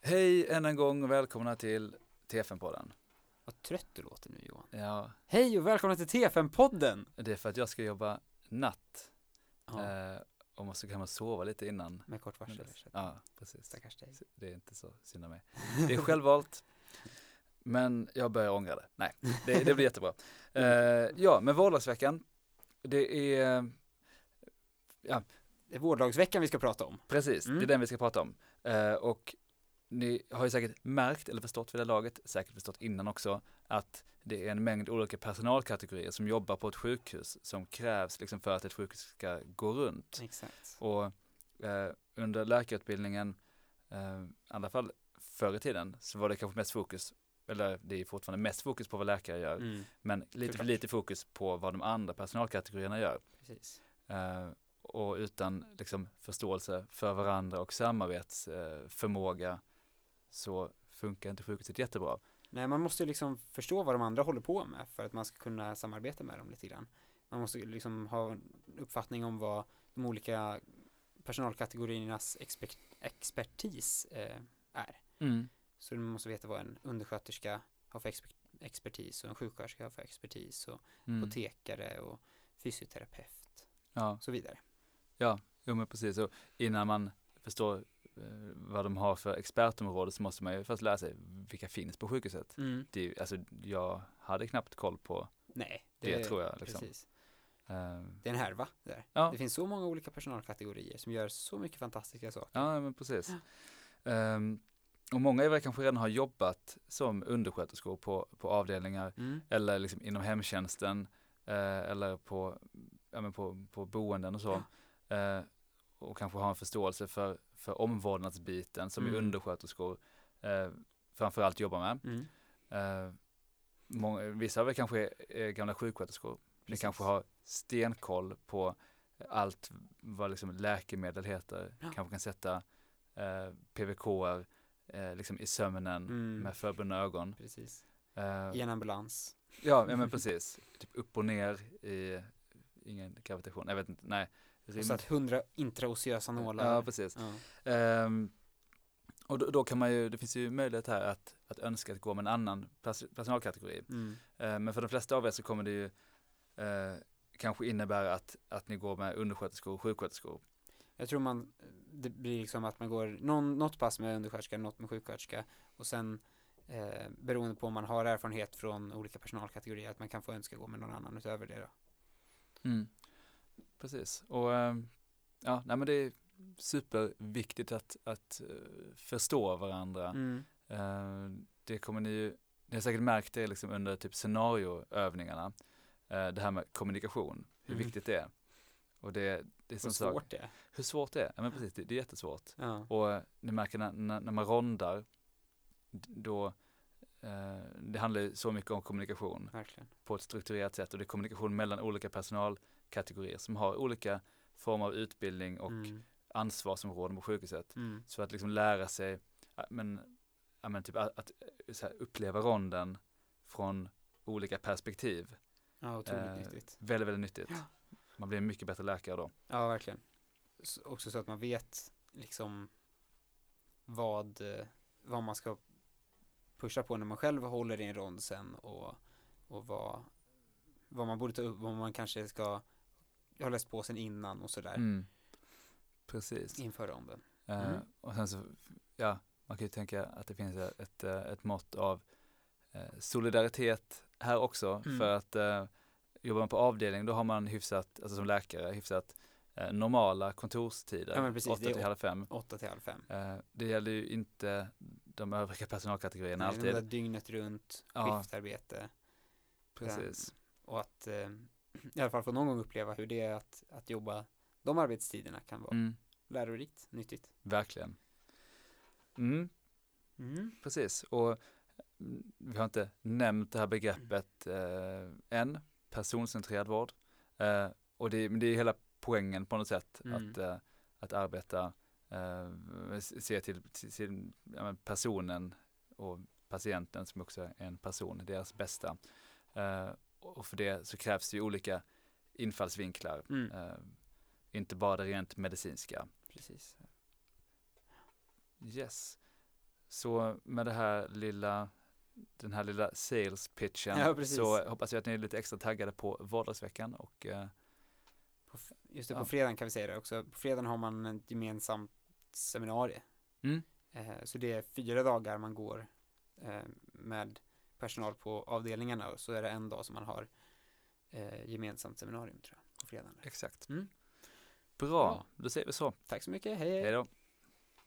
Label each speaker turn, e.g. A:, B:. A: Hej än en gång och välkomna till TFN-podden.
B: Vad trött du låter nu Johan.
A: Ja,
B: Hej och välkomna till TFN-podden!
A: det är för att jag ska jobba natt
B: Ja,
A: eh, och måste kanske sova lite innan.
B: med kort varsel.
A: Ja, precis.
B: Stackars dig.
A: Det är inte så synd om mig. Det är självvalt, men jag börjar ångra det. Nej, det, det blir jättebra. Eh, ja, men valdagsveckan, det är
B: Det är vårdlagsveckan vi ska prata om.
A: Precis, det
B: Mm.
A: är den vi ska prata om. Eh, och ni har ju säkert märkt, eller förstått vid det laget, säkert förstått innan också, att det är en mängd olika personalkategorier som jobbar på ett sjukhus som krävs liksom för att ett sjukhus ska gå runt.
B: Mm. Exakt.
A: Och eh, under läkarutbildningen, eh, i alla fall förr i tiden, så var det kanske mest fokus, eller det är fortfarande mest fokus på vad läkare gör,
B: Mm,
A: men lite för
B: Såklart.
A: lite fokus på vad de andra personalkategorierna gör.
B: precis.
A: Eh, och utan liksom, förståelse för varandra och samarbetsförmåga så funkar inte sjukhuset jättebra.
B: Nej, man måste ju liksom förstå vad de andra håller på med för att man ska kunna samarbeta med dem lite grann. Man måste ju liksom ha en uppfattning om vad de olika personalkategoriernas expert, expertis eh, är.
A: Mm,
B: Så man måste veta vad en undersköterska har för exper- expertis och en sjuksköterska har för expertis och
A: Mm.
B: apotekare och fysioterapeut
A: Ja,
B: och så vidare.
A: jo, men precis. Och innan man förstår eh, vad de har för expertområde så måste man ju först lära sig vilka finns på sjukhuset. Det, är ju- alltså, jag hade knappt koll på
B: Nej,
A: det, tror jag. Liksom.
B: Precis.
A: Eh,
B: Det är en härva där.
A: Ja.
B: Det finns så många olika personalkategorier som gör så mycket fantastiska saker.
A: Ja, men precis. Ehm, och många av er kanske redan har jobbat som undersköterskor på, på avdelningar
B: Mm.
A: eller liksom inom hemtjänsten eh, eller på, ja, men på, på boenden och så. Eh, och kanske ha en förståelse för, för omvårdnadsbiten som mm.
B: Mm.
A: undersköterskor eh, framförallt jobbar med.
B: Mm.
A: Eh, många, vissa av er kanske är gamla sjuksköterskor. Ni
B: Precis.
A: kanske har stenkoll på allt vad liksom läkemedel heter.
B: Ja.
A: Kanske kan sätta eh, PVK eh, liksom i sömnen
B: Mm.
A: med förbundna ögon.
B: Precis.
A: Eh,
B: I en ambulans.
A: Ja, ja men precis. Typ upp och ner i, ingen gravitation, jag vet inte, nej.
B: Och satt hundra intraosseösa nålar.
A: Ja, precis.
B: Ja.
A: Ehm, och då, då kan man ju, det finns ju möjlighet här att, att önska att gå med en annan pers- personalkategori.
B: Mm.
A: Eh, men för de flesta av er så kommer det ju eh, kanske innebära att, att ni går med undersköterskor och sjuksköterskor.
B: Jag tror man, det blir liksom att man går någon, något pass med undersköterska, något med sjuksköterska och sen eh, beroende på om man har erfarenhet från olika personalkategorier att man kan få önska gå med någon annan utöver det då.
A: Precis, och ehm, ja, nej men det är superviktigt att, att eh, förstå varandra.
B: Mm.
A: Eh, det kommer ni ju, ni har säkert märkt det liksom under typ scenarioövningarna, eh, det här med kommunikation, hur
B: Mm.
A: viktigt det är. Och det, det är som
B: Hur
A: sagt,
B: svårt det är.
A: hur svårt det är, ja men precis, det, det är jättesvårt.
B: Ja.
A: Och eh, ni märker när, när, när man rondar, d- då, eh, det handlar ju så mycket om kommunikation
B: Verkligen.
A: på ett strukturerat sätt och det är kommunikation mellan olika personalkategorier som har olika former av utbildning och
B: Mm.
A: ansvarsområden på sjukhuset.
B: Mm.
A: Så att liksom lära sig, ja, men, ja, men typ att, att så här, uppleva ronden från olika perspektiv.
B: Ja, otroligt
A: Eh,
B: nyttigt.
A: Väldigt, väldigt nyttigt.
B: Ja.
A: Man blir en mycket bättre läkare då.
B: Ja, verkligen. S- också så att man vet liksom vad, eh, vad man ska pusha på när man själv håller i en rond sen och, och vad, vad man borde ta upp, vad man kanske ska ha läst på sen innan och sådär
A: Mm. Precis.
B: inför ronden.
A: Eh,
B: Mm.
A: och sen så, ja, man kan ju tänka att det finns ett, eh, ett mått av eh, solidaritet här också.
B: Mm.
A: För att eh, jobbar man på avdelning, då har man hyfsat, alltså som läkare, hyfsat eh, normala kontorstider.
B: Ja, men precis,
A: 8
B: det är
A: till halv fem.
B: åtta till halv fem.
A: Eh, det gäller ju inte de övriga personalkategorierna
B: Nej, de
A: alltid.
B: där dygnet runt,
A: Ja.
B: skiftarbete
A: Precis.
B: och att eh, i alla fall få någon gång uppleva hur det är att, att jobba de arbetstiderna kan vara
A: Mm,
B: lärorikt, nyttigt.
A: verkligen. Mm, precis. Och mm, vi har inte nämnt det här begreppet eh, än, personcentrerad vård. Eh, och det, men det är hela poängen på något sätt
B: Mm.
A: att, eh, att arbeta, eh, se till, till, till ja, men personen och patienten som också är en person, deras bästa. Eh, och för det så krävs det ju olika infallsvinklar.
B: Mm.
A: Eh, inte bara det rent medicinska.
B: Precis.
A: Yes. Så med det här lilla, den här lilla sales pitchen
B: Ja, precis.
A: så hoppas jag att ni är lite extra taggade på vardagsveckan och eh,
B: På f- Just det,
A: Ja.
B: på fredagen kan vi säga det också. På fredagen har man ett gemensamt seminarium.
A: mm,
B: Eh, Så det är fyra dagar man går eh, med personal på avdelningarna och så är det en dag som man har eh, gemensamt seminarium tror jag, på fredagen.
A: exakt.
B: Mm.
A: Bra,
B: Bra.
A: då säger vi så.
B: Eh, Tack så mycket, hej hej!
A: Hej då.